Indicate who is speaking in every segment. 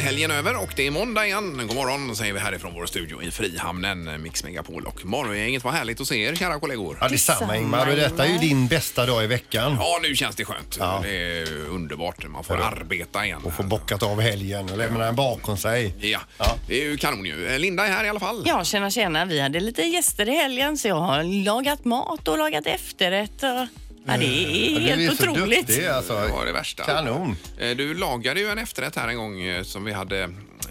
Speaker 1: helgen över och det är måndag igen. God morgon säger vi härifrån vår studio i Frihamnen, Mix Megapol och Morgongänget. Vad härligt att se er kära kollegor.
Speaker 2: Ja, detsamma
Speaker 3: Detsamma,
Speaker 2: Ingmar. Och detta är ju
Speaker 3: Ingmar.
Speaker 2: din bästa dag i veckan.
Speaker 1: Ja, nu känns det skönt.
Speaker 2: Ja.
Speaker 1: Det är underbart. Man får
Speaker 2: Ja.
Speaker 1: arbeta igen.
Speaker 2: Och få bockat av helgen och lämna den bakom sig.
Speaker 1: Ja.
Speaker 2: Ja.
Speaker 1: det är ju kanon ju. Linda är här i alla fall.
Speaker 3: Ja, tjena tjena. Vi hade lite gäster i helgen så jag har lagat mat och lagat efterrätt. Och... Ja, det är
Speaker 2: Du är
Speaker 3: helt
Speaker 2: ju så
Speaker 3: otroligt.
Speaker 2: duktig alltså.
Speaker 1: Det var det värsta.
Speaker 2: Kanon.
Speaker 1: Eh, Du lagade ju en efterrätt här en gång eh, som vi hade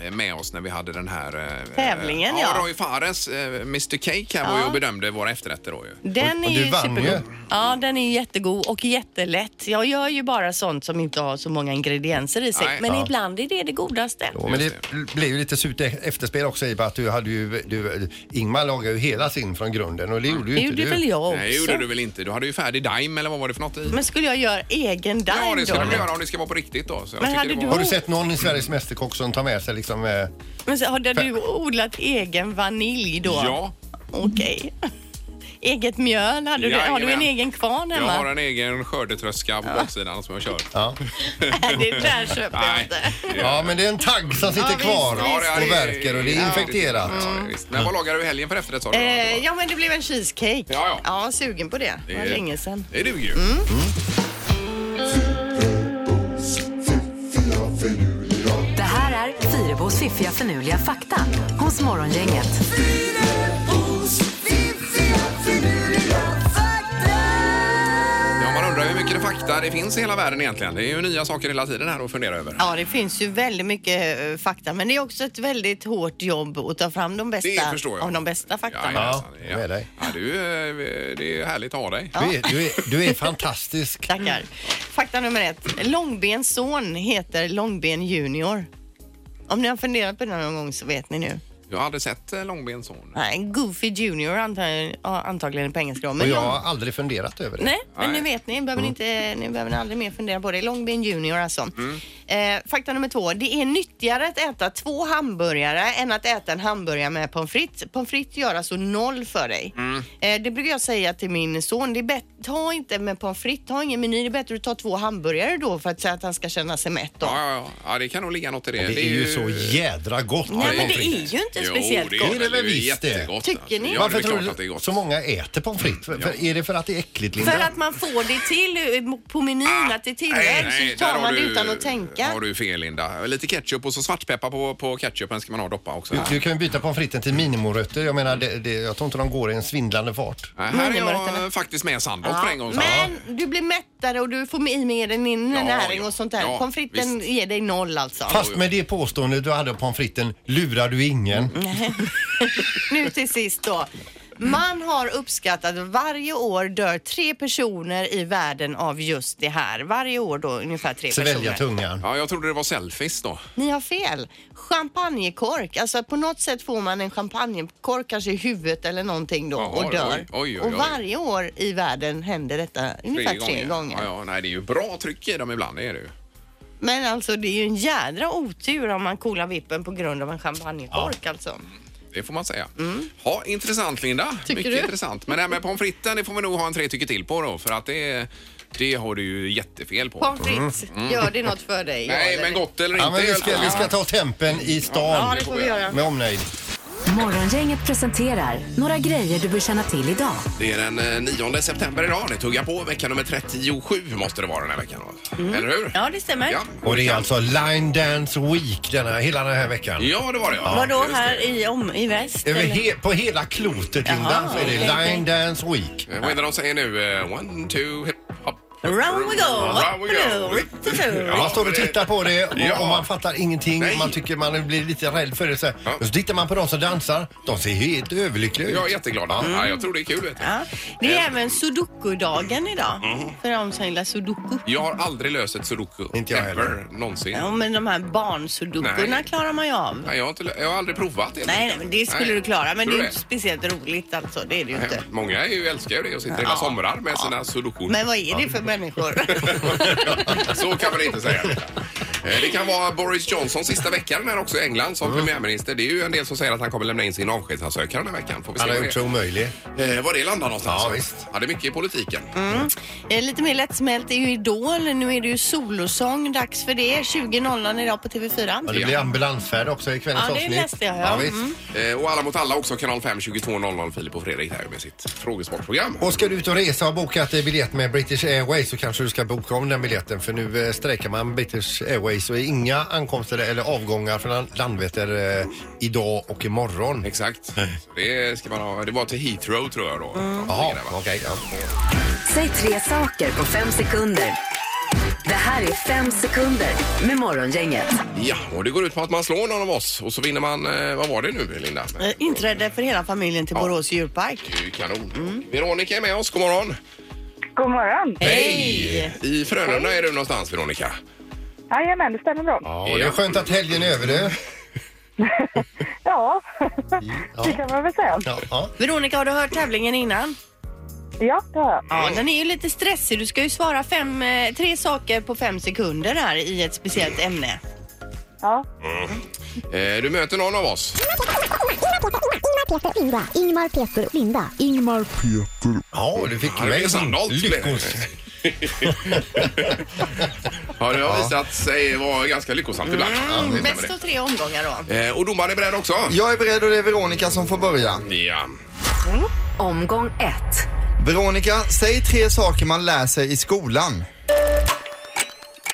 Speaker 1: eh, med oss när vi hade den här... eh,
Speaker 3: Tävlingen,
Speaker 1: eh,
Speaker 3: ja.
Speaker 1: Roy Fares, eh, Mr Cake här var ju och bedömde våra efterrätter då ju.
Speaker 3: Den
Speaker 2: Och-
Speaker 3: är
Speaker 2: och du
Speaker 3: ju
Speaker 2: vann ju.
Speaker 3: supergod. Ja, den är ju jättegod och jättelätt. Jag gör ju bara sånt som inte har så många ingredienser i sig.
Speaker 1: Nej.
Speaker 3: men
Speaker 1: Ja.
Speaker 3: ibland är det det godaste.
Speaker 2: Ja, men det
Speaker 1: Just
Speaker 2: blev ju lite surt efterspel också i och med att du hade ju, du, Ingmar lagade ju hela sin från grunden och det gjorde ju
Speaker 3: Det
Speaker 2: inte
Speaker 3: gjorde
Speaker 2: du.
Speaker 3: väl jag också.
Speaker 1: Nej, det gjorde du väl inte? Du hade ju färdig daim eller vad var det för något i?
Speaker 3: Men skulle jag göra egen dime
Speaker 1: ja, det
Speaker 3: då?
Speaker 1: ska du
Speaker 3: eller?
Speaker 1: göra om det ska vara på riktigt då. Så jag
Speaker 3: Men
Speaker 1: tycker
Speaker 3: hade
Speaker 1: det
Speaker 3: du-
Speaker 2: Har
Speaker 1: var...
Speaker 2: du sett någon i Sveriges Mästerkock som tar med sig liksom... Eh,
Speaker 3: Men så, hade du odlat egen vanilj då?
Speaker 1: Ja,
Speaker 3: Okej. Eget mjöl, hade du, har du en
Speaker 1: Jajamän.
Speaker 3: egen kvarn
Speaker 1: jag
Speaker 3: hemma?
Speaker 1: har en egen skördetröska på baksidan som jag kör.
Speaker 2: ja.
Speaker 3: Nej, det där köper jag
Speaker 1: Nej.
Speaker 3: inte.
Speaker 2: ja, men det är en tagg som sitter
Speaker 3: Ja, visst,
Speaker 2: kvar
Speaker 3: visst,
Speaker 2: och verkar och det är infekterat.
Speaker 1: Ja, det är visst. Men vad lagade du i helgen för efterrätt sa du?
Speaker 3: Eh, ja, men det blev en cheesecake.
Speaker 1: Ja, ja.
Speaker 3: sugen på det. Det var
Speaker 1: Det-
Speaker 3: länge sedan.
Speaker 1: Det duger ju.
Speaker 4: Det här är Fyrabos fiffiga förnuliga fakta hos Morgongänget.
Speaker 1: Ja, man undrar hur mycket det fakta det finns i hela världen egentligen. Det är ju nya saker hela tiden här att fundera över.
Speaker 3: Ja, det finns ju väldigt mycket eh, fakta, men det är också ett väldigt hårt jobb att ta fram de
Speaker 1: Det
Speaker 3: bästa
Speaker 1: förstår jag.
Speaker 3: av de bästa faktan.
Speaker 1: Ja,
Speaker 2: Ja,
Speaker 1: jajamensan.
Speaker 2: jag är med dig.
Speaker 1: Ja, du, eh, det är härligt att ha dig.
Speaker 2: Du, är, du, är, du är fantastisk.
Speaker 3: Tackar. Fakta nummer ett. Långbens son heter Långben Junior. Om ni har funderat på det någon gång så vet ni nu.
Speaker 1: Jag har aldrig sett eh, Långbensson.
Speaker 3: Nej, Goofy Junior antagligen, ja, antagligen på engelska. då,
Speaker 2: Och
Speaker 3: Men
Speaker 2: jag
Speaker 3: lång-
Speaker 2: har aldrig funderat över det.
Speaker 3: Nej, men
Speaker 1: Nej. Mm.
Speaker 3: nu vet ni. Behöver ni, inte, ni behöver aldrig mer fundera på det. Långben Junior alltså.
Speaker 1: Mm.
Speaker 3: Eh, fakta nummer två. Det är nyttigare att äta två hamburgare än att äta en hamburgare med pommes frites. Pommes frites gör alltså noll för dig.
Speaker 1: Mm.
Speaker 3: Eh, det brukar jag säga till min son. Det är bättre, ta inte med pommes frites, ta ingen meny. Det är bättre att ta två hamburgare då för att, så att han ska känna sig mätt då.
Speaker 1: Ja, ja, ja. ja, det kan nog ligga något i det.
Speaker 2: Det är ju så jädra gott.
Speaker 3: Nej, men det
Speaker 2: pommes frites.
Speaker 3: är ju inte
Speaker 1: Jo,
Speaker 3: speciellt
Speaker 1: det
Speaker 3: gott.
Speaker 2: Det är det väl visst det.
Speaker 1: jättegott.
Speaker 3: Tycker
Speaker 1: alltså.
Speaker 3: ni?
Speaker 1: Ja,
Speaker 2: Varför
Speaker 1: det är
Speaker 2: tror
Speaker 1: klart att det är
Speaker 2: du
Speaker 1: gott. Mm,
Speaker 2: så många äter pommes frites? För- för- Är det för att det är äckligt, Linda?
Speaker 3: För att man får det till eh, på menyn, att det är tillägg, så
Speaker 1: där
Speaker 3: tar
Speaker 1: har
Speaker 3: man det
Speaker 1: du-
Speaker 3: utan att tänka.
Speaker 1: har du fel, Linda. Lite ketchup och så svartpeppar på, på ketchupen ska man ha doppa också.
Speaker 2: Du, du kan ju byta pommes fritesen till minimorötter. Jag menar, det, det, jag tror inte de går i en svindlande fart.
Speaker 1: Nej, här är jag
Speaker 3: Minimorötterna.
Speaker 1: eh, faktiskt med Sandholt för en gång så.
Speaker 3: Men du blir mättare och du får i mer din
Speaker 1: Ja,
Speaker 3: näring
Speaker 1: ja.
Speaker 3: och sånt där.
Speaker 1: Ja,
Speaker 3: Pommes fritesen
Speaker 1: visst.
Speaker 3: ger dig noll alltså.
Speaker 2: Fast med det påståendet du hade om pommes fritesen lurar du ingen.
Speaker 1: Mm,
Speaker 3: Nu till sist då. Man har uppskattat att varje år dör tre personer i världen av just det här. Varje år då ungefär tre
Speaker 2: Svälja
Speaker 3: personer.
Speaker 2: tungan.
Speaker 1: Ja, jag trodde det var selfies då.
Speaker 3: Ni har fel. Champagnekork. Alltså på något sätt får man en champagnekork kanske i huvudet eller någonting då
Speaker 1: Jaha,
Speaker 3: och dör.
Speaker 1: oj, oj, oj,
Speaker 3: Och
Speaker 1: oj.
Speaker 3: varje år i världen händer detta ungefär tre gånger.
Speaker 1: Ja, ja, nej, det är ju bra tryck i dem ibland, det är det ju.
Speaker 3: Men alltså det är ju en jädra otur om man kolar vippen på grund av en champagnekork alltså.
Speaker 1: Det får man säga. Ja, intressant Linda.
Speaker 3: Tycker
Speaker 1: Mycket
Speaker 3: du?
Speaker 1: intressant. Men det här med pommes fritesen, det får vi nog ha en tre tycker till på då. För att det, det har du ju jättefel på.
Speaker 3: Pommes frites, gör det något för dig? ja,
Speaker 1: Mm, Nej,
Speaker 3: eller?
Speaker 1: men gott eller inte.
Speaker 2: Ja, men vi, ska, vi ska ta tempen i
Speaker 3: Ja,
Speaker 2: stan
Speaker 3: det får vi göra.
Speaker 2: med omnejd.
Speaker 4: Morgongänget presenterar några grejer du bör känna till idag.
Speaker 1: Det är den eh, 9 september idag. Det tuggar på. Vecka nummer 37 måste det vara den här veckan. va? Eller hur?
Speaker 3: Mm. Ja, det stämmer.
Speaker 1: Ja.
Speaker 2: Och det är alltså Line Dance Week denna, hela den här veckan.
Speaker 1: Ja, det var det. Ja.
Speaker 3: Vadå
Speaker 1: Just det.
Speaker 3: här i, om, i väst?
Speaker 2: Över
Speaker 3: eller?
Speaker 2: he, på hela klotet Linda
Speaker 3: Jaha,
Speaker 2: så är det
Speaker 3: okej.
Speaker 2: Line Dance Week.
Speaker 1: Eh, Vad är det de säger nu? Eh, One, two, hip, hop.
Speaker 3: Round we go!
Speaker 1: Round we go.
Speaker 3: Rippadoo.
Speaker 1: Ja.
Speaker 2: Man står och tittar på det och,
Speaker 1: Ja.
Speaker 2: och man fattar ingenting.
Speaker 1: Nej.
Speaker 2: Man tycker man blir lite rädd för det. Så, här.
Speaker 1: Ja.
Speaker 2: och så tittar man på de som dansar. De ser helt överlyckliga ut.
Speaker 1: Jag är jätteglad.
Speaker 3: Mm.
Speaker 1: Ja, jag tror det är kul. Vet du.
Speaker 3: Ja. Det är även sudoku-dagen idag
Speaker 1: Mm.
Speaker 3: för de som gillar sudoku.
Speaker 1: Jag har aldrig löst ett sudoku.
Speaker 2: Inte jag
Speaker 1: Ever.
Speaker 2: heller.
Speaker 1: Någonsin.
Speaker 3: Ja, men de här barnsudokurna
Speaker 1: Nej.
Speaker 3: klarar man ju av.
Speaker 1: Nej, jag, har inte, lö- jag har aldrig provat det.
Speaker 3: Nej, nej, men det skulle
Speaker 1: Nej.
Speaker 3: du klara. Men
Speaker 1: Tror
Speaker 3: det
Speaker 1: du
Speaker 3: är ju inte speciellt roligt alltså. Det är det ju inte.
Speaker 1: Många är ju, älskar ju det och sitter hela somrar med sina sudokor.
Speaker 3: Men vad är det för människor?
Speaker 1: Så kan man inte säga. Eh, Det kan vara Boris Johnsons sista veckan här också i England
Speaker 2: Mm.
Speaker 1: som premiärminister. Det är ju en del som säger att han kommer lämna in sin avskedsansökan den här veckan. Får vi se
Speaker 2: Han har
Speaker 1: var
Speaker 2: gjort sig
Speaker 1: det,
Speaker 2: omöjlig.
Speaker 1: eh, var det landar någonstans.
Speaker 2: Ja, visst.
Speaker 1: Ja, det är mycket i politiken.
Speaker 3: Eh, Lite mer lättsmält är ju Idol. Nu är det ju solosång. Dags för det. 20.00 idag på
Speaker 2: Ja,
Speaker 3: TV4.
Speaker 2: det blir ambulansfärd också i kvällens
Speaker 3: Ja, det
Speaker 2: avsnitt.
Speaker 3: läste jag, ja.
Speaker 2: visst.
Speaker 3: Mm.
Speaker 1: Eh, Och Alla mot alla också, kanal 5, 22.00. Filip och Fredrik här med sitt frågesportprogram.
Speaker 2: Och ska du ut och resa och boka ett eh, biljett med British Airways så kanske du ska boka om den biljetten för nu eh, strejkar man British Airways och är inga ankomster eller avgångar från Landvetter eh, idag och imorgon.
Speaker 1: Exakt. Så Det, ska man ha. det var till Heathrow tror jag då.
Speaker 2: Jaha,
Speaker 1: Det där, va?
Speaker 2: okej. ja.
Speaker 4: Säg tre saker på fem sekunder. Det här är fem sekunder med Morgongänget.
Speaker 1: Ja, och det går ut på att man slår någon av oss och så vinner man, eh, vad var det nu Linda?
Speaker 3: Eh, Inträde för hela familjen till Borås djurpark.
Speaker 1: Det är ju kanon. Veronica är med oss, god morgon.
Speaker 5: God morgon.
Speaker 1: Hej! I Frölunda är du någonstans Veronica.
Speaker 5: Jajamän, det stämmer bra.
Speaker 2: Ja, och det är skönt att helgen är över du.
Speaker 5: Ja, det
Speaker 2: Ja.
Speaker 5: kan man väl säga.
Speaker 2: Ja, ja.
Speaker 3: Veronica, har du hört tävlingen innan?
Speaker 5: Ja, det har jag.
Speaker 3: Ja, den är ju lite stressig. Du ska ju svara fem, eh, tre saker på fem sekunder här i ett speciellt ämne.
Speaker 5: Ja.
Speaker 1: Eh, Du möter någon av oss.
Speaker 6: Ingmar, Peter, Linda. Ingmar, Peter, Linda. Ingmar,
Speaker 2: ja du fick
Speaker 1: Ja, det
Speaker 2: mig.
Speaker 1: blir Sandholt.
Speaker 2: Lyckos.
Speaker 1: Ja, det har visat sig vara ganska lyckosamt ibland. Ja, det
Speaker 3: Mm,
Speaker 1: stämmer
Speaker 3: bäst
Speaker 1: det.
Speaker 3: av tre omgångar då.
Speaker 1: Eh, Och domaren är beredd också?
Speaker 7: Jag är beredd och det är Veronica som får börja.
Speaker 1: Ja.
Speaker 4: Omgång ett.
Speaker 7: Veronica, säg tre saker man lär sig i skolan.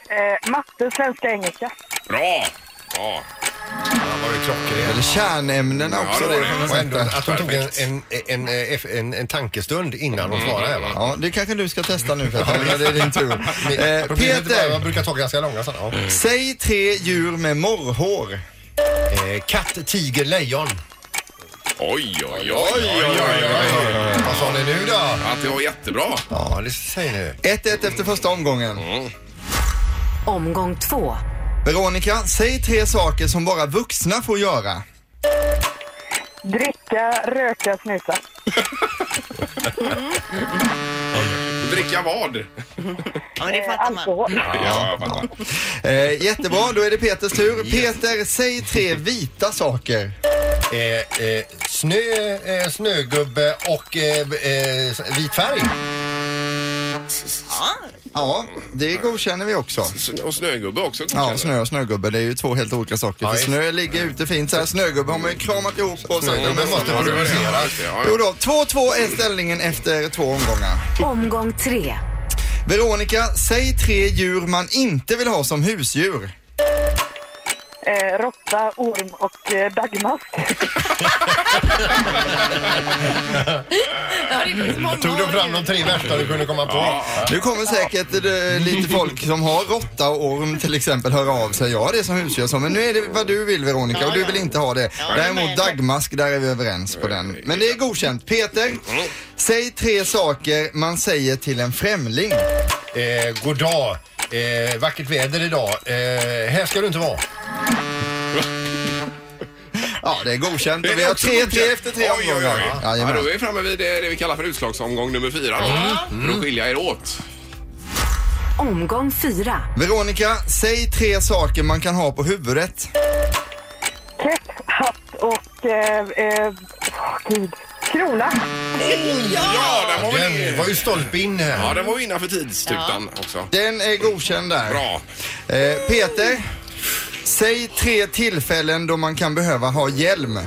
Speaker 5: Eh, matte, svenska, engelska.
Speaker 1: Bra! Ja.
Speaker 2: Han var ju klockren.
Speaker 7: Eller kärnämnena
Speaker 1: Ja,
Speaker 7: också.
Speaker 1: det var
Speaker 7: det.
Speaker 1: det.
Speaker 2: Och ändå att hon tog en,
Speaker 1: Perfekt.
Speaker 2: en, en, eh, f- en, en tankestund innan hon svarade.
Speaker 1: Mm.
Speaker 2: Va?
Speaker 7: Ja, det kanske du ska testa nu Petter. Ja, det är din tur.
Speaker 2: Problemet
Speaker 7: Eh,
Speaker 2: är bara att Man
Speaker 7: Peter,
Speaker 2: brukar ta ganska långa sådana. Ja.
Speaker 7: säg tre djur med morrhår.
Speaker 2: Eh, katt, tiger, lejon.
Speaker 1: Oj, oj, oj, oj, oj, oj.
Speaker 2: Vad sa ni nu då?
Speaker 1: Att det var jättebra.
Speaker 2: Ja, det säger ni.
Speaker 7: 1-1 efter första omgången.
Speaker 4: Omgång två.
Speaker 7: Veronica, säg tre saker som bara vuxna får göra.
Speaker 5: Dricka, röka, snusa.
Speaker 1: Dricka vad?
Speaker 3: Ja, men det
Speaker 5: Eh,
Speaker 3: fattar man.
Speaker 5: alkohol.
Speaker 1: Ja, jag fattar.
Speaker 7: Eh, jättebra, då är det Peters tur. Peter, säg tre vita saker.
Speaker 2: Eh, eh, snö, eh, snögubbe och eh, eh, vit färg.
Speaker 7: Ja, det godkänner vi också.
Speaker 1: S- Och snögubbe också.
Speaker 7: Ja, snö och snögubbe, det är ju två helt olika saker.
Speaker 2: Ja,
Speaker 7: För
Speaker 2: just-
Speaker 7: snö ligger ute fint så här. Snögubbe har man ju kramat ihop och så.
Speaker 2: Snögubben
Speaker 1: Ja,
Speaker 2: måste
Speaker 1: det var det.
Speaker 2: producera.
Speaker 1: Ja, just det. Ja,
Speaker 7: Jo
Speaker 1: ja.
Speaker 7: då, 2-2 är ställningen efter två omgångar.
Speaker 4: Omgång tre.
Speaker 7: Veronica, säg tre djur man inte vill ha som husdjur.
Speaker 5: Eh, råtta, orm och eh, dagmask.
Speaker 3: Ja, det finns många.
Speaker 2: Tog du fram de tre värsta du kunde komma på?
Speaker 7: Nu kommer säkert eh, lite folk som har råtta och orm till exempel höra av sig. Ja, det är som husdjur så, men nu är det vad du vill Veronica och du vill inte ha det. Däremot dagmask, där är vi överens på den. Men det är godkänt. Peter, säg tre saker man säger till en främling.
Speaker 2: Eh, god dag. Eh, vackert väder idag. Eh, här ska du inte vara.
Speaker 7: Ja, det är godkänt
Speaker 1: Det är
Speaker 7: och vi har
Speaker 1: också
Speaker 7: 3-3
Speaker 1: godkänt.
Speaker 7: efter tre
Speaker 1: Oj, oj, oj.
Speaker 7: omgångar.
Speaker 1: Ja,
Speaker 7: Jajamän.
Speaker 1: då är vi framme vid det, det vi kallar för utslagsomgång nummer fyra. Då. För att skilja er åt.
Speaker 4: Omgång fyra.
Speaker 7: Veronica, säg tre saker man kan ha på huvudet.
Speaker 5: Kepp, hatt och... Eh, eh, åh, gud. Krona.
Speaker 1: Ja, där var vi
Speaker 2: Den var ju stolpe in
Speaker 1: Ja,
Speaker 2: här.
Speaker 1: den var ju innanför tidsstutan också.
Speaker 7: Den är godkänd där.
Speaker 1: Bra.
Speaker 7: Eh, Peter, säg tre tillfällen då man kan behöva ha hjälm.
Speaker 2: Eh,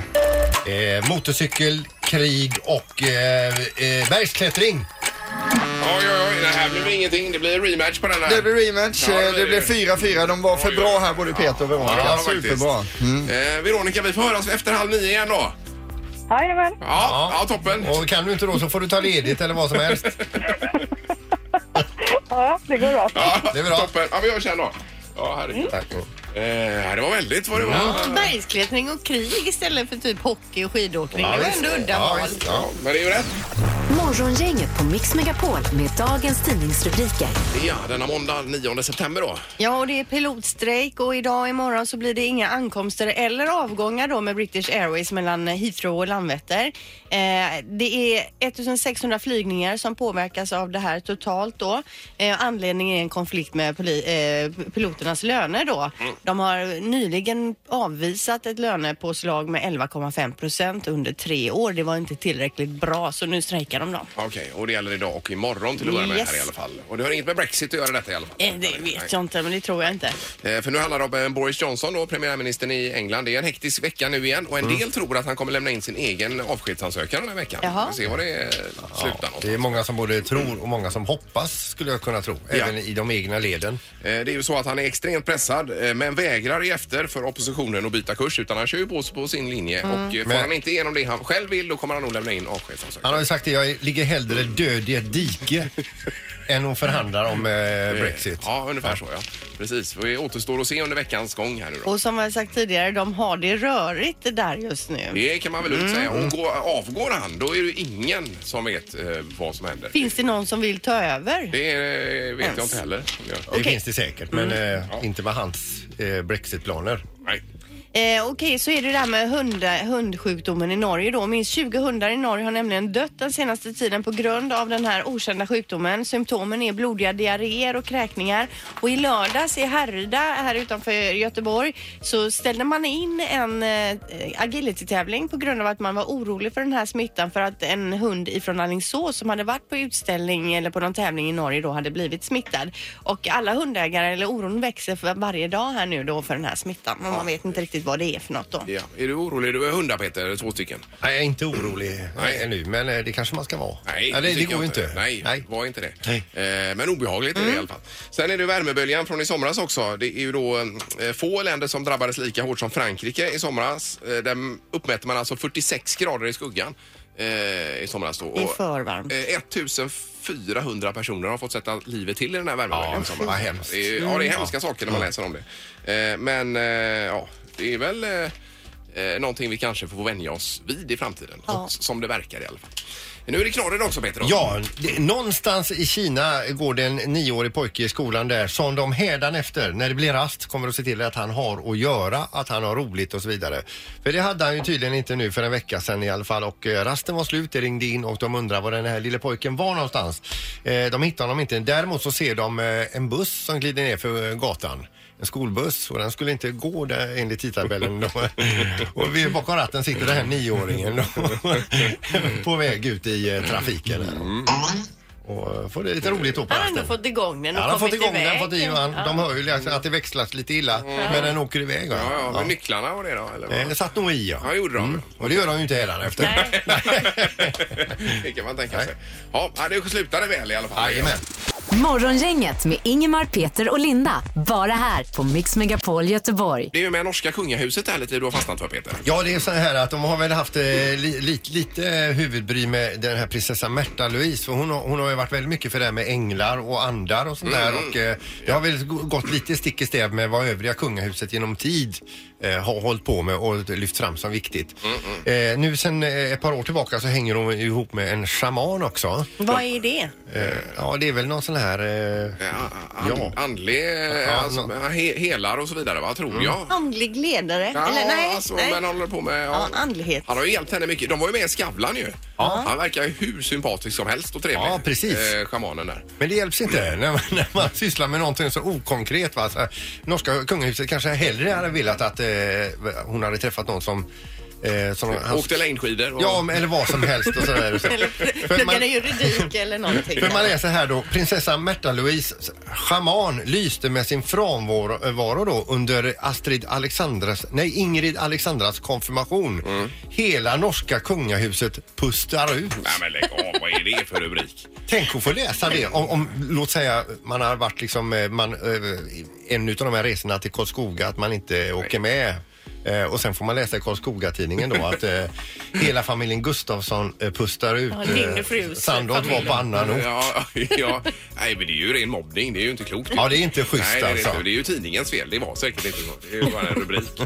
Speaker 2: motorcykel, krig och eh, eh, bergsklättring.
Speaker 1: Oj, oj, oj. Det här blev ingenting. Det blir rematch på den här.
Speaker 7: Det blir rematch,
Speaker 1: Ja,
Speaker 7: eh, det blir 4-4. De var för
Speaker 1: Oj, oj.
Speaker 7: bra här både Peter och Veronica.
Speaker 1: Ja, faktiskt.
Speaker 7: Superbra. Mm.
Speaker 1: Eh, Veronica, vi får höras efter halv nio igen då.
Speaker 5: Jajamän.
Speaker 1: Ja, ja toppen.
Speaker 2: Och kan du inte då så får du ta ledigt eller vad som helst.
Speaker 5: Ja, det går bra.
Speaker 1: Ja,
Speaker 2: Det är bra.
Speaker 1: Toppen. Ja, vi hörs sen då. Ja, herregud.
Speaker 2: Tack.
Speaker 1: Eh, det var väldigt vad det var.
Speaker 7: Mm.
Speaker 3: Bergsklättring och krig istället för typ hockey och skidåkning. Det var ändå udda
Speaker 2: Ja,
Speaker 3: val.
Speaker 2: visst,
Speaker 1: Ja,
Speaker 2: ja.
Speaker 1: men det är ju rätt.
Speaker 4: Morgongänget på Mix Megapol med dagens tidningsrubriker.
Speaker 1: Ja, denna måndag 9 september då.
Speaker 3: Ja, och det är pilotstrejk och idag och imorgon så blir det inga ankomster eller avgångar då med British Airways mellan Heathrow och Landvetter. Eh, det är 1600 flygningar som påverkas av det här totalt då. Eh, anledningen är en konflikt med poli- eh, piloternas löner då. De har nyligen avvisat ett lönepåslag med 11,5 procent under tre år. Det var inte tillräckligt bra så nu strejkar de då.
Speaker 1: Okej, och det gäller idag och imorgon till att börja med
Speaker 3: Yes.
Speaker 1: här i alla fall. Och det har inget med Brexit att göra detta i alla fall?
Speaker 3: Eh, det vet jag inte, men det tror jag inte.
Speaker 1: Eh, För nu handlar det om eh, Boris Johnson, då, premiärministern i England. Det är en hektisk vecka nu igen och en del tror att han kommer lämna in sin egen avskedsansökan den här veckan.
Speaker 3: Jaha.
Speaker 1: Vi får se vad det eh, slutar någonstans.
Speaker 2: Det är många som både tror och många som hoppas skulle jag kunna tro. Även i de egna leden.
Speaker 1: Eh, Det är ju så att han är extremt pressad eh, men vägrar i efter för oppositionen att byta kurs utan han kör ju på, på sin linje
Speaker 3: Mm.
Speaker 1: och eh, får
Speaker 2: Men-
Speaker 1: han inte igenom det han själv vill då kommer han nog lämna in avskedsansökan.
Speaker 2: Han har ju sagt det, jag ligger hellre död i ett dike än att förhandla om eh, Brexit.
Speaker 1: Ja, ungefär så ja. Precis. Vi återstår att se under veckans gång här nu då.
Speaker 3: Och som jag sagt tidigare, de har det rörigt det där just nu.
Speaker 1: Det kan man väl lugnt säga.
Speaker 3: Mm.
Speaker 1: Och går, avgår han då är det ju ingen som vet eh, vad som händer.
Speaker 3: Finns det någon som vill ta över?
Speaker 1: Det eh, vet
Speaker 3: Ens.
Speaker 1: jag inte heller. Ja.
Speaker 2: Det
Speaker 3: Okej.
Speaker 2: finns det säkert, men eh, inte med hans eh, Brexitplaner.
Speaker 1: Nej.
Speaker 3: Eh, Okej, så är det det här med hund, hundsjukdomen i Norge då. Minst 20 hundar i Norge har nämligen dött den senaste tiden på grund av den här okända sjukdomen. Symptomen är blodiga diarréer och kräkningar. Och i lördags i Härryda här utanför Göteborg så ställde man in en eh, agility-tävling på grund av att man var orolig för den här smittan för att en hund ifrån Alingsås som hade varit på utställning eller på någon tävling i Norge då hade blivit smittad. Och alla hundägare, eller oron växer för varje dag här nu då för den här smittan. Men man vet inte riktigt vad det är för något då.
Speaker 1: Ja. Är du orolig? Du är hundar Peter, två stycken.
Speaker 2: Nej, jag är inte orolig
Speaker 1: Nej.
Speaker 2: Nej. nu, men eh, det kanske man ska vara.
Speaker 1: Nej,
Speaker 2: Eller, det
Speaker 1: tycker
Speaker 2: går ju
Speaker 1: jag
Speaker 2: inte.
Speaker 1: Nej,
Speaker 2: Nej.
Speaker 1: var inte det.
Speaker 2: Nej.
Speaker 1: Eh, men obehagligt är det i alla fall. Sen är det värmeböljan från i somras också. Det är ju då eh, få länder som drabbades lika hårt som Frankrike i somras. Eh, där uppmätte man alltså 46 grader i skuggan eh, i somras. Då.
Speaker 3: Det är
Speaker 1: Och,
Speaker 3: för varmt.
Speaker 1: eh, 1400 personer har fått sätta livet till i den här värmeböljan.
Speaker 2: Ja,
Speaker 1: i somras.
Speaker 2: vad hemskt.
Speaker 1: Det är, ja, det är hemska saker när man läser om det. Eh, men eh, ja, det är väl... Eh, Eh, någonting vi kanske får vänja oss vid i framtiden.
Speaker 3: Ja.
Speaker 1: Som det verkar i alla fall. Nu är det knorren också Peter. då.
Speaker 2: Ja, det, någonstans i Kina går det en nioårig pojke i skolan där som de hädanefter, när det blir rast, kommer att se till att han har att göra, att han har roligt och så vidare. För det hade han ju tydligen inte nu för en vecka sedan i alla fall och eh, rasten var slut, det ringde in och de undrar var den här lille pojken var någonstans. Eh, de hittar honom inte. Däremot så ser de eh, en buss som glider ner för eh, gatan. En skolbuss och den skulle inte gå där enligt tidtabellen. Då. Och vid bakom ratten sitter den här nioåringen då, på väg ut i eh, trafiken. här. Och eh, får det lite roligt då på
Speaker 3: Han har ändå
Speaker 2: rasten.
Speaker 3: fått igång den
Speaker 2: Ja,
Speaker 3: och
Speaker 2: han har fått
Speaker 3: kommit
Speaker 2: igång den,
Speaker 3: iväg.
Speaker 2: fått i den. De hör ju liksom att det växlas lite illa, men den åker iväg. va?
Speaker 1: Ja, ja, men nycklarna och det då? Eller
Speaker 2: Eh,
Speaker 1: vad?
Speaker 2: Det Mm. satt nog i ja.
Speaker 1: Ja, det gjorde de.
Speaker 2: Och det gör de ju inte hädanefter.
Speaker 1: Det kan man tänka sig. Ja, ja, det slutade väl i alla fall.
Speaker 2: Jajamän.
Speaker 4: Morgongänget med Ingemar, Peter och Linda. Bara här på Mix Megapol Göteborg.
Speaker 1: Det är ju med norska kungahuset där lite du har fastnat för Peter.
Speaker 2: Ja, det är så här att de har väl haft eh, li, li, lite eh, huvudbry med den här prinsessan Märtha Louise. För hon, har- hon har ju varit väldigt mycket för det här med änglar och andar och sånt där. Och eh, det har väl gå- gått lite stick i stäv med vad övriga kungahuset genom tid eh, har hållit på med och lyft fram som viktigt. Eh, nu sen eh, ett par år tillbaka så hänger hon ihop med en shaman också.
Speaker 3: Vad är det?
Speaker 2: Eh, ja, det är väl någon sån här... Eh,
Speaker 1: Ja, an,
Speaker 2: Ja.
Speaker 1: Andlig, eh,
Speaker 2: Ja,
Speaker 1: alltså,
Speaker 2: nå- Mm.
Speaker 1: he, helar och så vidare va, tror jag.
Speaker 3: Andlig ledare?
Speaker 1: Ja,
Speaker 3: Eller nej?
Speaker 1: alltså,
Speaker 3: nej.
Speaker 1: men han håller på med...
Speaker 3: Ja, andlighet.
Speaker 1: Han har ju hjälpt henne mycket. De var ju med i Skavlan ju. Han verkar ju hur sympatisk som helst och trevlig.
Speaker 2: Ja, precis.
Speaker 1: Eh, Schamanen där.
Speaker 2: Men det hjälps inte när man, när man sysslar med någonting så okonkret. Va? Så, här, norska kungahuset kanske hellre hade velat att eh, hon hade träffat någon som... Eh, som han-
Speaker 1: Åkte längdskidor. Och...
Speaker 2: Ja, men- eller vad som helst och sådär. Och så.
Speaker 3: Eller
Speaker 2: För man-
Speaker 3: pluggade juridik eller någonting.
Speaker 2: för man läser här då, prinsessan Märtha Louise, schaman, lyste med sin frånvaro då under Astrid Alexandras, nej Ingrid Alexandras konfirmation. Hela norska kungahuset pustar ut.
Speaker 1: Nej men lägg av, vad är det för rubrik?
Speaker 2: Tänk att få läsa det om, om låt säga man har varit liksom eh, man, eh, en utav de här resorna till Karlskoga att man inte åker med Eh, och sen får man läsa i Karlskoga-tidningen då att eh, hela familjen Gustafsson eh, pustar ut eh,
Speaker 8: Ja, din frus
Speaker 2: Sandholt var på
Speaker 8: familj.
Speaker 2: annan ort.
Speaker 1: Ja, ja. Nej, men det är ju ren mobbning. Det är ju inte klokt.
Speaker 2: Ja, det är inte schysst
Speaker 1: Nej, det är, det
Speaker 2: alltså.
Speaker 1: inte. det är ju tidningens fel. Det var säkert inte så. Det är ju bara en rubrik.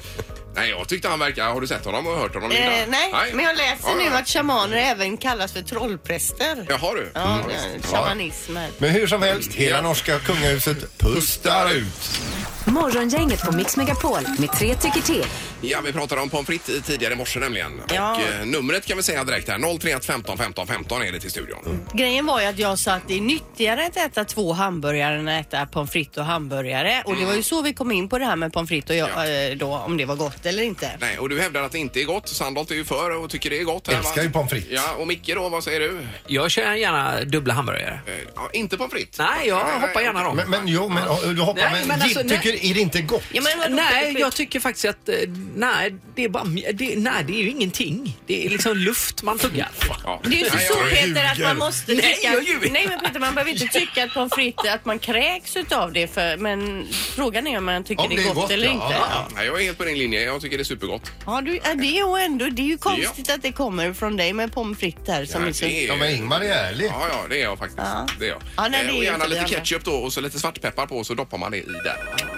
Speaker 1: Nej, jag tyckte han verkar... Har du sett honom och hört honom?
Speaker 3: Eh,
Speaker 1: Linda?
Speaker 3: nej, men jag läser
Speaker 1: Ja,
Speaker 3: nu
Speaker 1: ja.
Speaker 3: att shamaner även kallas för trollpräster.
Speaker 1: Jaha du. Mm.
Speaker 3: Ja,
Speaker 1: Ja,
Speaker 3: det är shamanism här.
Speaker 2: Men hur som helst, hela norska kungahuset pustar ut.
Speaker 4: Morgongänget på Mix Megapol med tre tycker till.
Speaker 1: Ja, vi pratade om pommes frites i tidigare i morse nämligen.
Speaker 3: Ja.
Speaker 1: Och, eh, numret kan vi säga direkt här. 031 15 15 15 är det till studion.
Speaker 2: Mm.
Speaker 3: Grejen var ju att jag sa att det är nyttigare att äta två hamburgare än att äta pommes frites och hamburgare. Och det var ju så vi kom in på det här med pommes frites och jag,
Speaker 1: Ja.
Speaker 3: eh, då, om det var gott eller inte.
Speaker 1: Nej, och du hävdar att det inte är gott. Sandholt är ju för och tycker det är gott.
Speaker 2: Älskar
Speaker 1: va?
Speaker 2: ju pommes frites.
Speaker 1: Ja, och Micke då, vad säger du?
Speaker 9: Jag kör gärna dubbla hamburgare.
Speaker 1: Eh, Ja, inte pommes frites?
Speaker 9: Nej, jag hoppar gärna dem.
Speaker 2: Men, men jo, men ja, du hoppar,
Speaker 9: Nej,
Speaker 2: men,
Speaker 9: men
Speaker 2: Jim
Speaker 9: alltså, nej.
Speaker 2: tycker är det inte gott?
Speaker 3: Ja, men vadå?
Speaker 9: Nej, jag tycker faktiskt att eh, nej, det är, bara, mj- det, nej, det är ju ingenting. Det är liksom luft man tuggar.
Speaker 1: Ja.
Speaker 3: Det är ju inte
Speaker 1: Nej,
Speaker 3: så
Speaker 1: jag-
Speaker 3: Peter att man måste
Speaker 9: Nej,
Speaker 3: tycka...
Speaker 9: jag ljuger.
Speaker 3: Nej men Peter man behöver inte tycka att pommes frites, att man kräks utav det för, men frågan är om man tycker
Speaker 2: Om
Speaker 3: det är gott, eller
Speaker 2: ja.
Speaker 3: inte.
Speaker 2: Ja.
Speaker 1: Nej, jag är helt på din linje. Jag tycker det är supergott.
Speaker 3: Ja, du, är det och ändå, det är ju konstigt att det kommer från dig med pommes frites här som
Speaker 1: Nej,
Speaker 3: är så...
Speaker 1: det är-
Speaker 2: Ja, men Ingmar är ärlig.
Speaker 1: Ja, ja, det är jag faktiskt.
Speaker 3: Ja.
Speaker 1: Det är jag.
Speaker 3: Ja, nej, det
Speaker 1: Eh,
Speaker 3: är
Speaker 1: och gärna
Speaker 3: inte vi
Speaker 1: lite
Speaker 3: andra.
Speaker 1: ketchup då och så lite svartpeppar på och så doppar man det i där.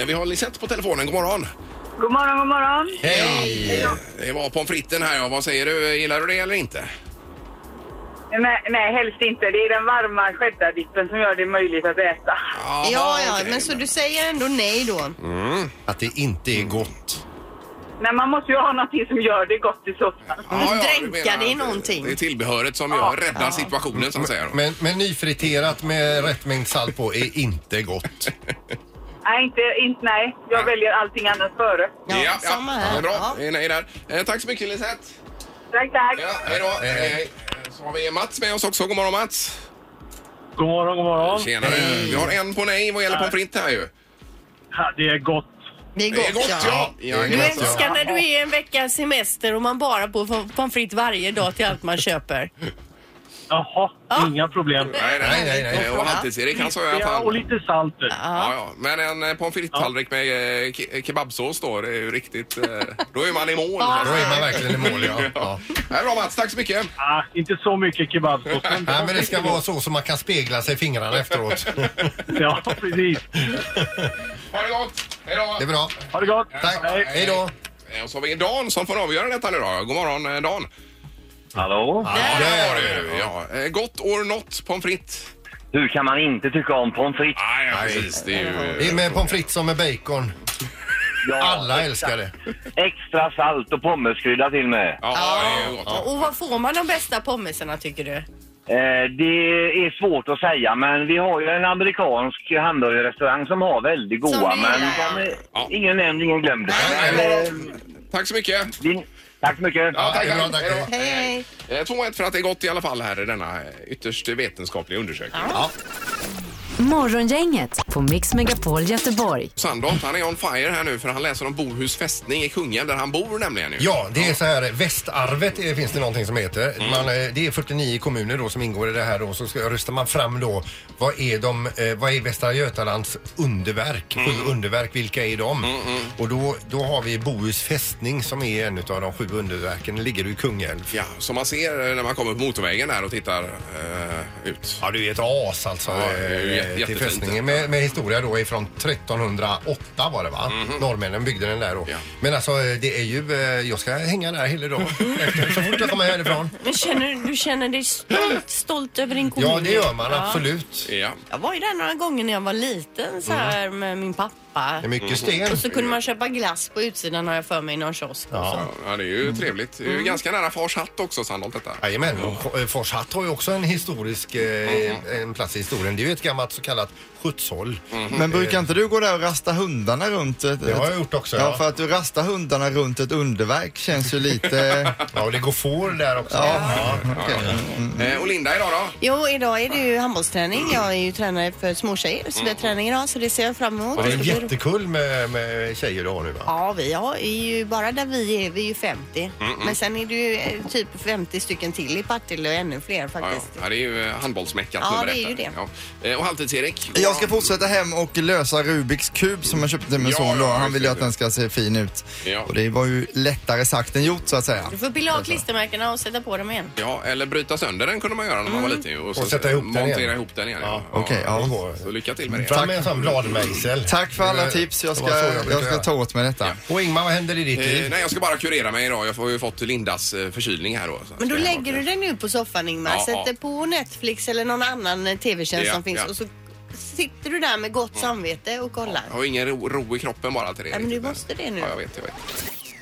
Speaker 1: Eh, Vi har Lisette på telefonen. God morgon.
Speaker 5: God morgon, god morgon.
Speaker 2: Hej!
Speaker 1: Det var pommes fritesen här. ja. Vad säger du? Gillar du det eller inte?
Speaker 5: Nej, nej, helst inte. Det är den varma cheddar-dippen som gör det möjligt att äta.
Speaker 1: Jaha,
Speaker 3: Ja, ja,
Speaker 1: okej.
Speaker 3: men så du säger ändå nej då?
Speaker 2: Att det inte är gott.
Speaker 5: Nej, man måste ju ha någonting som gör det gott i så fall.
Speaker 1: du
Speaker 3: dränka
Speaker 1: menar
Speaker 3: det i
Speaker 1: att
Speaker 3: någonting.
Speaker 1: Det är tillbehöret som gör, räddar situationen så att säga. då.
Speaker 2: Men, men nyfriterat med rätt mängd salt på är inte gott.
Speaker 5: Nej, inte, inte nej. Jag väljer allting annat före.
Speaker 3: Ja, samma här.
Speaker 1: Ja, bra,
Speaker 3: Ja.
Speaker 1: Det är nej där. Eh, tack så mycket Lisette.
Speaker 5: Tack, tack.
Speaker 1: Ja, hej då.
Speaker 2: Hej, hej.
Speaker 1: Hej. Så har vi Mats med oss också. God morgon Mats.
Speaker 10: God morgon, god morgon.
Speaker 1: Tjenare. Vi har en på nej vad gäller pommes frites här ju.
Speaker 10: Ja, Det är gott.
Speaker 3: Det är
Speaker 1: Det är gott ja.
Speaker 3: Du
Speaker 1: Jajamensan.
Speaker 3: älskar när du är en veckas semester och man bara på pommes frites varje dag till allt man köper.
Speaker 10: Jaha, inga problem.
Speaker 1: Nej, nej, nej.
Speaker 2: Nej, nej, nej.
Speaker 1: Eh, Och Halvtids-Erik han sa ju att
Speaker 10: Ja, och
Speaker 1: han...
Speaker 10: lite salt. du.
Speaker 1: Ja, ja. Men en eh, pommes frites-tallrik med eh, ke- kebabsås då, det är ju riktigt... eh, Då är man i mål.
Speaker 2: Då är man verkligen i mål, ja. ja.
Speaker 1: Ja, Bra Mats, tack så mycket.
Speaker 10: Ah, inte så mycket kebabsås. men-
Speaker 2: Nej, men det ska vara så som man kan spegla sig i fingrarna efteråt.
Speaker 10: Ja, precis.
Speaker 1: Ha det gott! Hej då!
Speaker 2: Det är bra.
Speaker 10: Ha det gott.
Speaker 2: Tack. Hej då.
Speaker 1: Eh, Och så har vi Dan som får avgöra detta nu då. God morgon eh, Dan.
Speaker 10: Hallå?
Speaker 2: Ja,
Speaker 1: Där var du. Ja. Eh, Gott or not pommes frites?
Speaker 10: Hur kan man inte tycka om pommes frites?
Speaker 1: Nej, ja, precis. Det är ju...
Speaker 2: Det är med pommes frites som med bacon. Alla älskar det.
Speaker 10: Extra salt och pommeskrydda till med.
Speaker 1: Ja, det är ju gott.
Speaker 3: Och var får man de bästa pommesarna tycker du?
Speaker 10: Eh, det är svårt att säga, men vi har ju en amerikansk hamburgerrestaurang som har väldigt
Speaker 3: Som
Speaker 10: goda,
Speaker 3: vi
Speaker 10: men
Speaker 3: gillar, ja.
Speaker 10: de är-
Speaker 1: Ja.
Speaker 10: ingen nämnd, ingen glömd.
Speaker 1: Nej,
Speaker 10: Men,
Speaker 1: nej,
Speaker 10: eh,
Speaker 1: Tack så mycket.
Speaker 10: vi- Tack så mycket.
Speaker 2: Ja, det är bra,
Speaker 1: Hej då.
Speaker 2: tack.
Speaker 3: Hej, hej.
Speaker 1: Eh, 2-1 för att det är gott i alla fall här i denna eh, ytterst vetenskapliga undersökning.
Speaker 4: Morgongänget på Mix Megapol Göteborg.
Speaker 1: Sandholt, han är on fire här nu för han läser om Bohus fästning i Kungälv där han bor nämligen. Ju.
Speaker 2: Ja, det är så här, västarvet eh, finns det någonting som heter. Man, eh, det är 49 kommuner då som ingår i det här då, så ska, röstar man fram då vad är, de, eh, vad är Västra Götalands underverk? Sju underverk, vilka är de? Och då, då har vi Bohus fästning som är en av de sju underverken, Den ligger i Kungälv.
Speaker 1: Ja, som man ser eh, när man kommer på motorvägen där och tittar eh, ut.
Speaker 2: Ja, du är ett as alltså
Speaker 1: Ja, det är ju
Speaker 2: eh,
Speaker 1: jätte-
Speaker 2: till
Speaker 1: jättefint.
Speaker 2: fästningen. Med, med historia då ifrån 1308 var det va? Norrmännen byggde den där då.
Speaker 1: Ja.
Speaker 2: Men alltså eh, det är ju, eh, jag ska hänga där hela dagen efter, så fort jag kommer härifrån.
Speaker 3: Men känner du- du känner dig stolt, stolt över din kommun?
Speaker 2: Ja, det gör man
Speaker 3: Ja.
Speaker 2: absolut.
Speaker 1: Ja.
Speaker 3: Jag var ju där några gånger när jag var liten så här
Speaker 2: Mm.
Speaker 3: med min pappa.
Speaker 2: Det är mycket sten.
Speaker 3: Och så kunde man köpa glass på utsidan har jag för mig i någon kiosk.
Speaker 2: Ja.
Speaker 1: Ja, det är ju trevligt. Det är ju ganska nära Fars hatt också, Sandholt, detta.
Speaker 2: Jajamän, och eh, Fors hatt har ju också en historisk
Speaker 7: Mm.
Speaker 2: eh, en plats i historien. Det är ju ett gammalt så kallat skötshåll.
Speaker 7: Men brukar inte du gå där och rasta hundarna runt ett...
Speaker 2: Det har jag gjort också.
Speaker 7: Ja,
Speaker 2: Ja,
Speaker 7: för att du rastar hundarna runt ett underverk känns ju lite...
Speaker 2: ja och det går får där också.
Speaker 7: Ja.
Speaker 1: Eh, och Linda idag då?
Speaker 3: Jo, idag är det ju handbollsträning. Jag är ju tränare för småtjejer så det är träning idag så det ser jag fram
Speaker 2: Mm.
Speaker 3: emot.
Speaker 2: Och det är
Speaker 3: Så
Speaker 2: en
Speaker 3: blir-
Speaker 2: jättekull med, med tjejer du har nu va?
Speaker 3: Ja, vi har, är ju bara där vi är, vi är ju 50. Men sen är det ju eh, typ 50 stycken till i Partille och ännu fler
Speaker 1: Ja, ja.
Speaker 3: faktiskt.
Speaker 1: ja, det är ju eh, handbollsmäckat
Speaker 3: Ja,
Speaker 1: nummer
Speaker 3: det är
Speaker 1: ett
Speaker 3: ju
Speaker 1: där. Ja.
Speaker 3: det.
Speaker 1: Eh, Och Halvtids-Erik? god
Speaker 7: jag ska fortsätta hem och lösa Rubiks kub som jag köpte till min
Speaker 1: Ja,
Speaker 7: son. Då.
Speaker 1: ja,
Speaker 7: Han
Speaker 1: just
Speaker 7: vill ju
Speaker 1: det.
Speaker 7: att den ska se fin ut.
Speaker 1: Ja.
Speaker 7: Och det var ju lättare sagt än gjort så att säga.
Speaker 3: Du får pilla av klistermärkena och sätta på dem igen.
Speaker 1: Ja, eller bryta sönder den kunde man göra när man var liten ju. Och, så
Speaker 2: Och sätta ihop den
Speaker 1: montera
Speaker 2: igen.
Speaker 1: ihop den igen. Ja.
Speaker 7: Okej,
Speaker 2: det
Speaker 7: ja.
Speaker 2: går.
Speaker 1: Så lycka till med det.
Speaker 2: Fram med en sån bladmejsel.
Speaker 7: Tack för alla
Speaker 2: Det-
Speaker 7: tips. Jag
Speaker 2: det
Speaker 7: ska,
Speaker 2: var så brukar
Speaker 7: jag ska
Speaker 2: göra.
Speaker 7: ta åt mig detta.
Speaker 2: Och Ingmar, vad händer i ditt
Speaker 1: Eh,
Speaker 2: liv?
Speaker 1: nej, jag ska bara kurera mig idag. Jag har ju fått Lindas eh, förkylning här då. Så
Speaker 3: Men då
Speaker 1: ska jag
Speaker 3: lägger
Speaker 1: ha-
Speaker 3: du den nu på soffan Ingmar,
Speaker 1: Ja,
Speaker 3: sätter
Speaker 1: ja.
Speaker 3: på Netflix eller någon annan eh, tv-tjänst
Speaker 1: Ja,
Speaker 3: som finns
Speaker 1: ja. Mm.
Speaker 3: och så sitter du där med gott samvete och kollar.
Speaker 1: Jag har ingen ro, ro i kroppen bara till det.
Speaker 3: Nej, men du
Speaker 1: riktigt,
Speaker 3: måste det nu.
Speaker 1: Ja, jag vet, jag vet.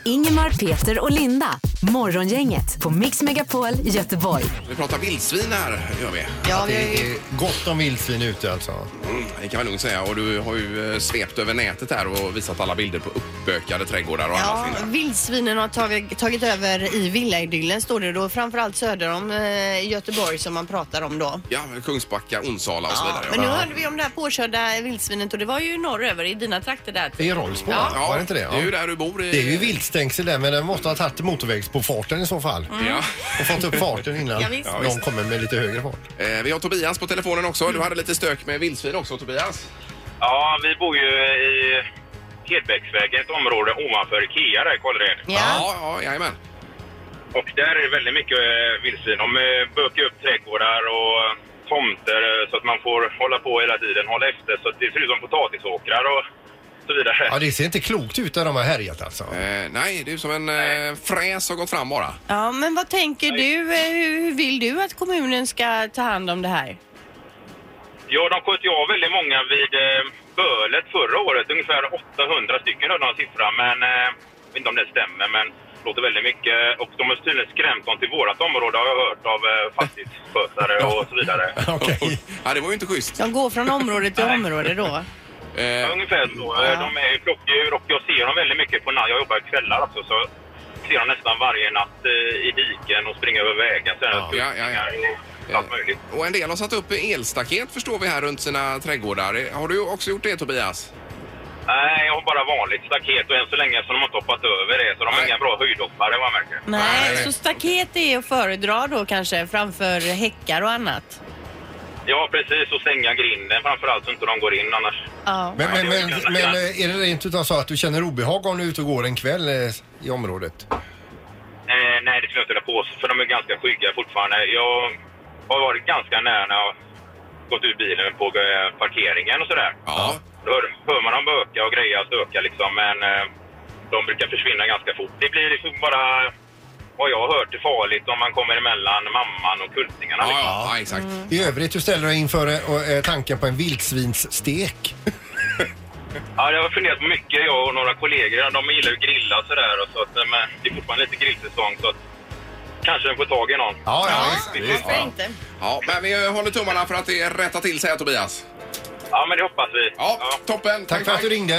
Speaker 4: Ingemar, Peter och Linda. Morgongänget på Mix Megapol Göteborg.
Speaker 1: Vi pratar vildsvin här, gör vi.
Speaker 3: Ja, vi har
Speaker 2: Det
Speaker 3: ju,
Speaker 2: är gott om vildsvin ute alltså.
Speaker 1: Mm, det kan man lugnt säga. Och du har ju eh, svept över nätet här och visat alla bilder på uppbökade trädgårdar och
Speaker 3: ja,
Speaker 1: annat. Linda.
Speaker 3: vildsvinen har tagit, tagit över i villaidyllen står det då, framförallt söder om eh, Göteborg som man pratar om då.
Speaker 1: Ja, Kungsbacka, Onsala och så
Speaker 3: Ja,
Speaker 1: vidare.
Speaker 3: men nu hörde vi om det här påkörda vildsvinet och det var ju norröver i dina trakter där.
Speaker 2: I Rolfsbo, ja. var det inte det? Ja.
Speaker 1: är ju där du bor. I...
Speaker 2: Det är ju viltstängsel där men den måste ha tagit motorvägs på farten i så
Speaker 7: Mm.
Speaker 2: fall.
Speaker 1: Ja.
Speaker 2: Och fått upp farten innan
Speaker 3: Ja, visst.
Speaker 2: de kommer med lite högre fart.
Speaker 1: Eh, Vi har Tobias på telefonen också. Du hade lite stök med vildsvin också, Tobias.
Speaker 10: Ja, vi bor ju eh, i Hedbäcksvägen, ett område ovanför Ikea där i Kållered.
Speaker 3: Ja.
Speaker 1: ja, ja jajamän.
Speaker 10: Och där är det väldigt mycket eh, vildsvin. De eh, bökar upp trädgårdar och eh, tomter eh, så att man får hålla på hela tiden, hålla efter så att det ser ut som potatisåkrar och så vidare.
Speaker 2: Ja, det ser inte klokt ut där de har härjat alltså.
Speaker 1: Eh, nej, det är som en eh, fräs har gått fram bara.
Speaker 3: ja, men vad tänker du? eh, Hur hur vill du att kommunen ska ta hand om det här?
Speaker 10: Ja, de sköt ju av väldigt många vid eh, Bölet förra året. Ungefär 800 stycken hörde någon siffra, men eh, jag vet inte om det stämmer. Men det låter väldigt mycket. Och de har tydligen skrämt dem till vårt område har jag hört av eh, fastighetsskötare och så vidare.
Speaker 2: Okej.
Speaker 1: ja, det var ju inte schysst.
Speaker 3: De går från område till område då.
Speaker 1: Eh,
Speaker 10: Ja, Ungefär så. Eh, De är ju flockdjur och jag ser dem väldigt mycket på natt. Jag jobbar kvällar också. Så ser dem nästan varje natt eh, i diken och springer över vägen. Sen
Speaker 2: Ja,
Speaker 1: ja, ja, ja.
Speaker 10: och Allt möjligt.
Speaker 1: eh, och en del har satt upp elstaket förstår vi här runt sina trädgårdar. Eh, Har du också gjort det Tobias?
Speaker 10: Nej, jag har bara vanligt staket och än så länge så har de inte hoppat över det. Så de
Speaker 1: Nej.
Speaker 10: är inga bra höjdhoppare vad jag märker.
Speaker 3: Nej,
Speaker 1: Nej.
Speaker 3: så staket är att föredra då kanske framför häckar och annat.
Speaker 10: Ja, precis. Och stänga grinden framförallt så inte de går in annars.
Speaker 3: Ja.
Speaker 2: Men, men, men,
Speaker 10: Ja, det-
Speaker 2: men eh, är det rent utav så att du känner obehag om du är ute och går en kväll eh, i området?
Speaker 10: Eh, nej, det skulle jag inte vilja påstå för de är ganska skygga fortfarande. Jag har varit ganska nära när jag gått ur bilen på eh, parkeringen och sådär.
Speaker 1: Ja.
Speaker 10: Då hör, hör man dem böka och greja och stöka liksom, men eh, de brukar försvinna ganska fort. Det blir liksom bara, vad jag har hört, är farligt om man kommer emellan mamman och kultingarna.
Speaker 1: Ja, ja,
Speaker 10: liksom.
Speaker 1: ja exakt.
Speaker 2: I övrigt, hur ställer du dig inför eh, och, eh, tanken på en vildsvinsstek?
Speaker 10: Ja, jag har funderat på mycket, jag och några kollegor. De gillar ju att grilla och sådär, och så att, eh, men det är fortfarande lite grillsäsong så att kanske de får tag i någon.
Speaker 2: Ja, ja,
Speaker 3: varför inte?
Speaker 1: Ja, men vi eh, håller tummarna för att det rättar till sig här Tobias.
Speaker 10: Ja, men det hoppas vi.
Speaker 1: Ja, toppen.
Speaker 2: Tack för att du ringde.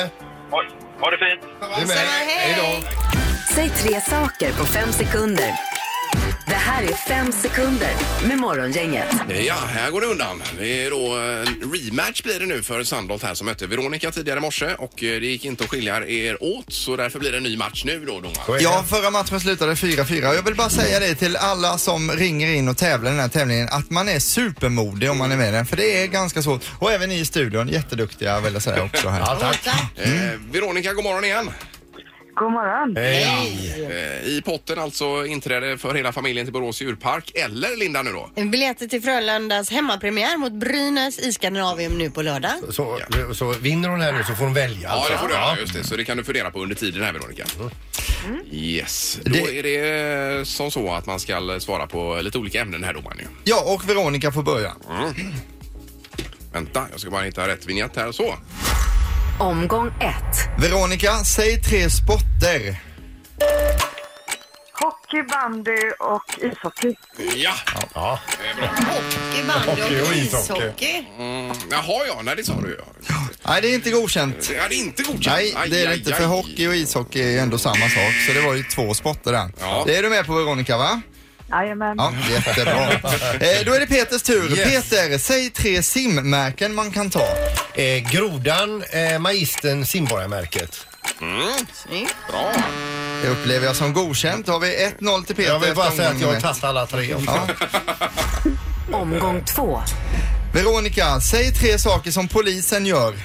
Speaker 10: Ha, ha det fint!
Speaker 2: Du är med. Hej då.
Speaker 4: Säg tre saker på fem sekunder. Det här är fem sekunder med Morgongänget.
Speaker 1: Ja, här går det undan. Det är då eh, rematch blir det nu för Sandholt här som mötte Veronica tidigare i morse och eh, det gick inte att skilja er åt så därför blir det en ny match nu då domaren.
Speaker 7: Ja, förra matchen slutade 4-4 och jag vill bara säga det till alla som ringer in och tävlar i den här tävlingen att man är supermodig om man är med i den för det är ganska svårt. Och även ni i studion, jätteduktiga vill jag säga också här.
Speaker 2: Ja, tack.
Speaker 1: Eh, Veronica, god morgon igen.
Speaker 5: God morgon.
Speaker 2: Hej.
Speaker 1: Eh, I potten alltså inträde för hela familjen till Borås djurpark eller Linda nu då?
Speaker 3: Biljetter till Frölundas hemmapremiär mot Brynäs i Skandinavium nu på lördag.
Speaker 2: Så, så vinner hon här nu så får hon välja.
Speaker 1: Ja,
Speaker 2: alltså.
Speaker 1: det får du göra. Just det. Så det kan du fundera på under tiden här Veronica. Yes. Då
Speaker 7: Mm. Det-
Speaker 1: är det eh, som så att man ska svara på lite olika ämnen här domaren. ju.
Speaker 7: Ja, och Veronica får börja.
Speaker 1: Vänta, jag ska bara hitta rätt vignett här. Så.
Speaker 4: Omgång ett.
Speaker 7: Veronica, säg tre sporter.
Speaker 5: Hockey, bandy och ishockey.
Speaker 1: Ja!
Speaker 2: Ja.
Speaker 1: det är bra.
Speaker 3: Hockey, bandy
Speaker 2: Hockey och
Speaker 3: och
Speaker 2: ishockey.
Speaker 3: ishockey.
Speaker 1: Mm. Jaha, ja. Nej, det sa du ju.
Speaker 7: Nej, det är inte godkänt.
Speaker 1: Ja, det är inte godkänt.
Speaker 7: Nej,
Speaker 1: Aj,
Speaker 7: det är det
Speaker 1: aj,
Speaker 7: inte
Speaker 1: aj.
Speaker 7: för hockey och ishockey är ju ändå samma sak så det var ju två sporter där.
Speaker 1: Ja.
Speaker 7: Det är du med på Veronica va?
Speaker 5: Jajamän.
Speaker 7: Ja, jättebra. eh, då är det Peters tur.
Speaker 2: Yes.
Speaker 7: Peter, säg tre simmärken man kan ta.
Speaker 2: Eh, grodan, eh, magistern, simborgarmärket.
Speaker 3: Snyggt.
Speaker 1: Bra.
Speaker 7: Det upplever jag som godkänt. Då har vi 1-0 till Peter.
Speaker 2: Jag vill bara
Speaker 7: efter
Speaker 2: säga att jag har
Speaker 7: omgången
Speaker 2: tagit alla tre.
Speaker 7: Ja.
Speaker 4: Omgång två.
Speaker 7: Veronica, säg tre saker som polisen gör.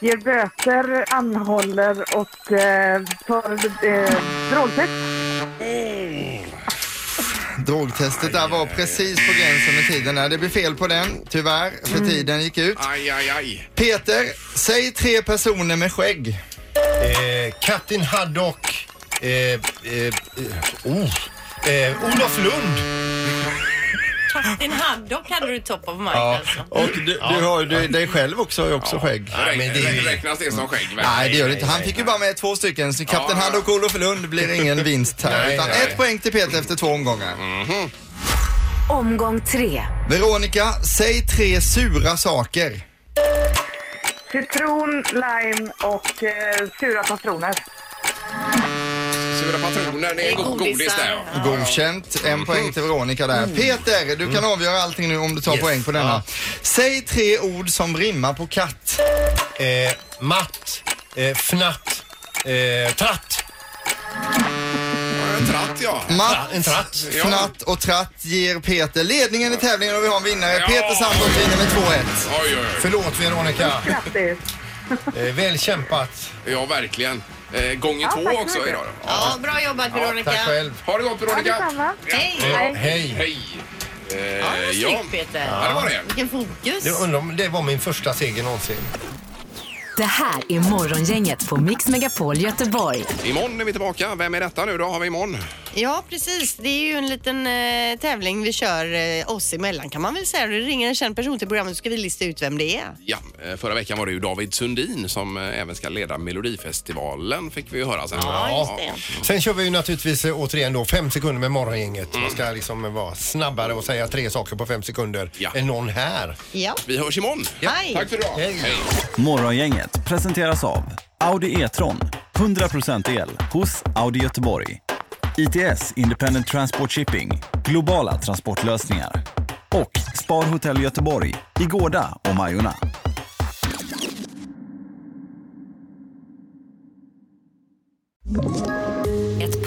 Speaker 5: Ger böter, anhåller och eh, tar eh, drogtest.
Speaker 7: Drogtestet där var precis på gränsen med tiden. där. Det blev fel på den, tyvärr, för tiden gick ut.
Speaker 1: Aj, aj, aj.
Speaker 7: Peter, säg tre personer med skägg.
Speaker 2: Eh, Captain Haddock. Eh, eh, eh, oh. eh, Olof Lund.
Speaker 8: Din Haddock hade du top of mind alltså.
Speaker 7: och du, du har ju du- dig själv också, har ju också skägg.
Speaker 2: Nej, men det är ju-
Speaker 1: Räknas det som skägg? verkligen?
Speaker 7: Nej, det gör det inte. Han fick ju bara med två stycken, så Kapten Hand och Olof Lund blir ingen vinst här.
Speaker 2: Nej,
Speaker 7: utan
Speaker 2: nej.
Speaker 7: ett poäng till Peter efter två omgångar.
Speaker 4: Omgång tre.
Speaker 7: Veronica, säg tre sura saker.
Speaker 5: Citron, lime och eh, sura patroner.
Speaker 1: Sura patroner, det är go-
Speaker 8: Godisar.
Speaker 1: godis där ja.
Speaker 7: Godkänt. En poäng till Veronica där.
Speaker 1: Mm.
Speaker 7: Peter, du kan avgöra allting nu om du tar poäng på denna. Säg tre ord som rimmar på katt.
Speaker 2: Eh, matt. Eh, fnatt. Eh, tratt.
Speaker 1: Ja, En tratt ja.
Speaker 7: Matt,
Speaker 2: En tratt.
Speaker 1: Ja.
Speaker 7: fnatt och tratt ger Peter ledningen i tävlingen och vi har en vinnare.
Speaker 1: Ja.
Speaker 7: Peter Sandholt vinner med 2-1.
Speaker 1: Oj, oj, oj.
Speaker 2: Förlåt Veronica.
Speaker 5: Grattis!
Speaker 2: Eh, väl kämpat.
Speaker 1: Ja, verkligen. Eh, gånger
Speaker 5: Ja,
Speaker 1: två
Speaker 5: tack så
Speaker 1: också
Speaker 5: mycket.
Speaker 1: idag. då.
Speaker 3: Ja, bra jobbat Veronica.
Speaker 2: Tack själv.
Speaker 1: Ha det gott Veronica.
Speaker 5: detsamma.
Speaker 3: Hej!
Speaker 2: Eh, hej.
Speaker 1: Hej. Eh,
Speaker 3: Ja, det
Speaker 1: ja.
Speaker 3: var snyggt Peter.
Speaker 1: ja, det var det.
Speaker 3: Vilken fokus.
Speaker 2: Jag undrar om det var min första seger någonsin.
Speaker 4: Det här är Morgongänget på Mix Megapol Göteborg.
Speaker 1: Imorgon är vi tillbaka. Vem är detta nu då? Har vi imorgon?
Speaker 3: Ja, precis. Det är ju en liten eh, tävling vi kör eh, oss emellan kan man väl säga. Det ringer en känd person till programmet så ska vi lista ut vem det är.
Speaker 1: Ja, eh, förra veckan var det ju David Sundin som eh, även ska leda Melodifestivalen fick vi ju höra sen.
Speaker 3: Ja, just det.
Speaker 2: Sen kör vi ju naturligtvis eh, återigen då fem sekunder med morgongänget. Man ska liksom eh, vara snabbare och säga tre saker på fem sekunder
Speaker 1: Ja.
Speaker 2: än någon här.
Speaker 3: Ja.
Speaker 1: Vi hörs imorgon.
Speaker 3: Hej.
Speaker 1: Tack för idag.
Speaker 2: Hej.
Speaker 11: Morgongänget presenteras av Audi E-tron. 100% el hos Audi Göteborg. ITS Independent Transport Shipping. Globala transportlösningar. Och Spar Hotel Göteborg i Gårda och Majorna.
Speaker 4: Ett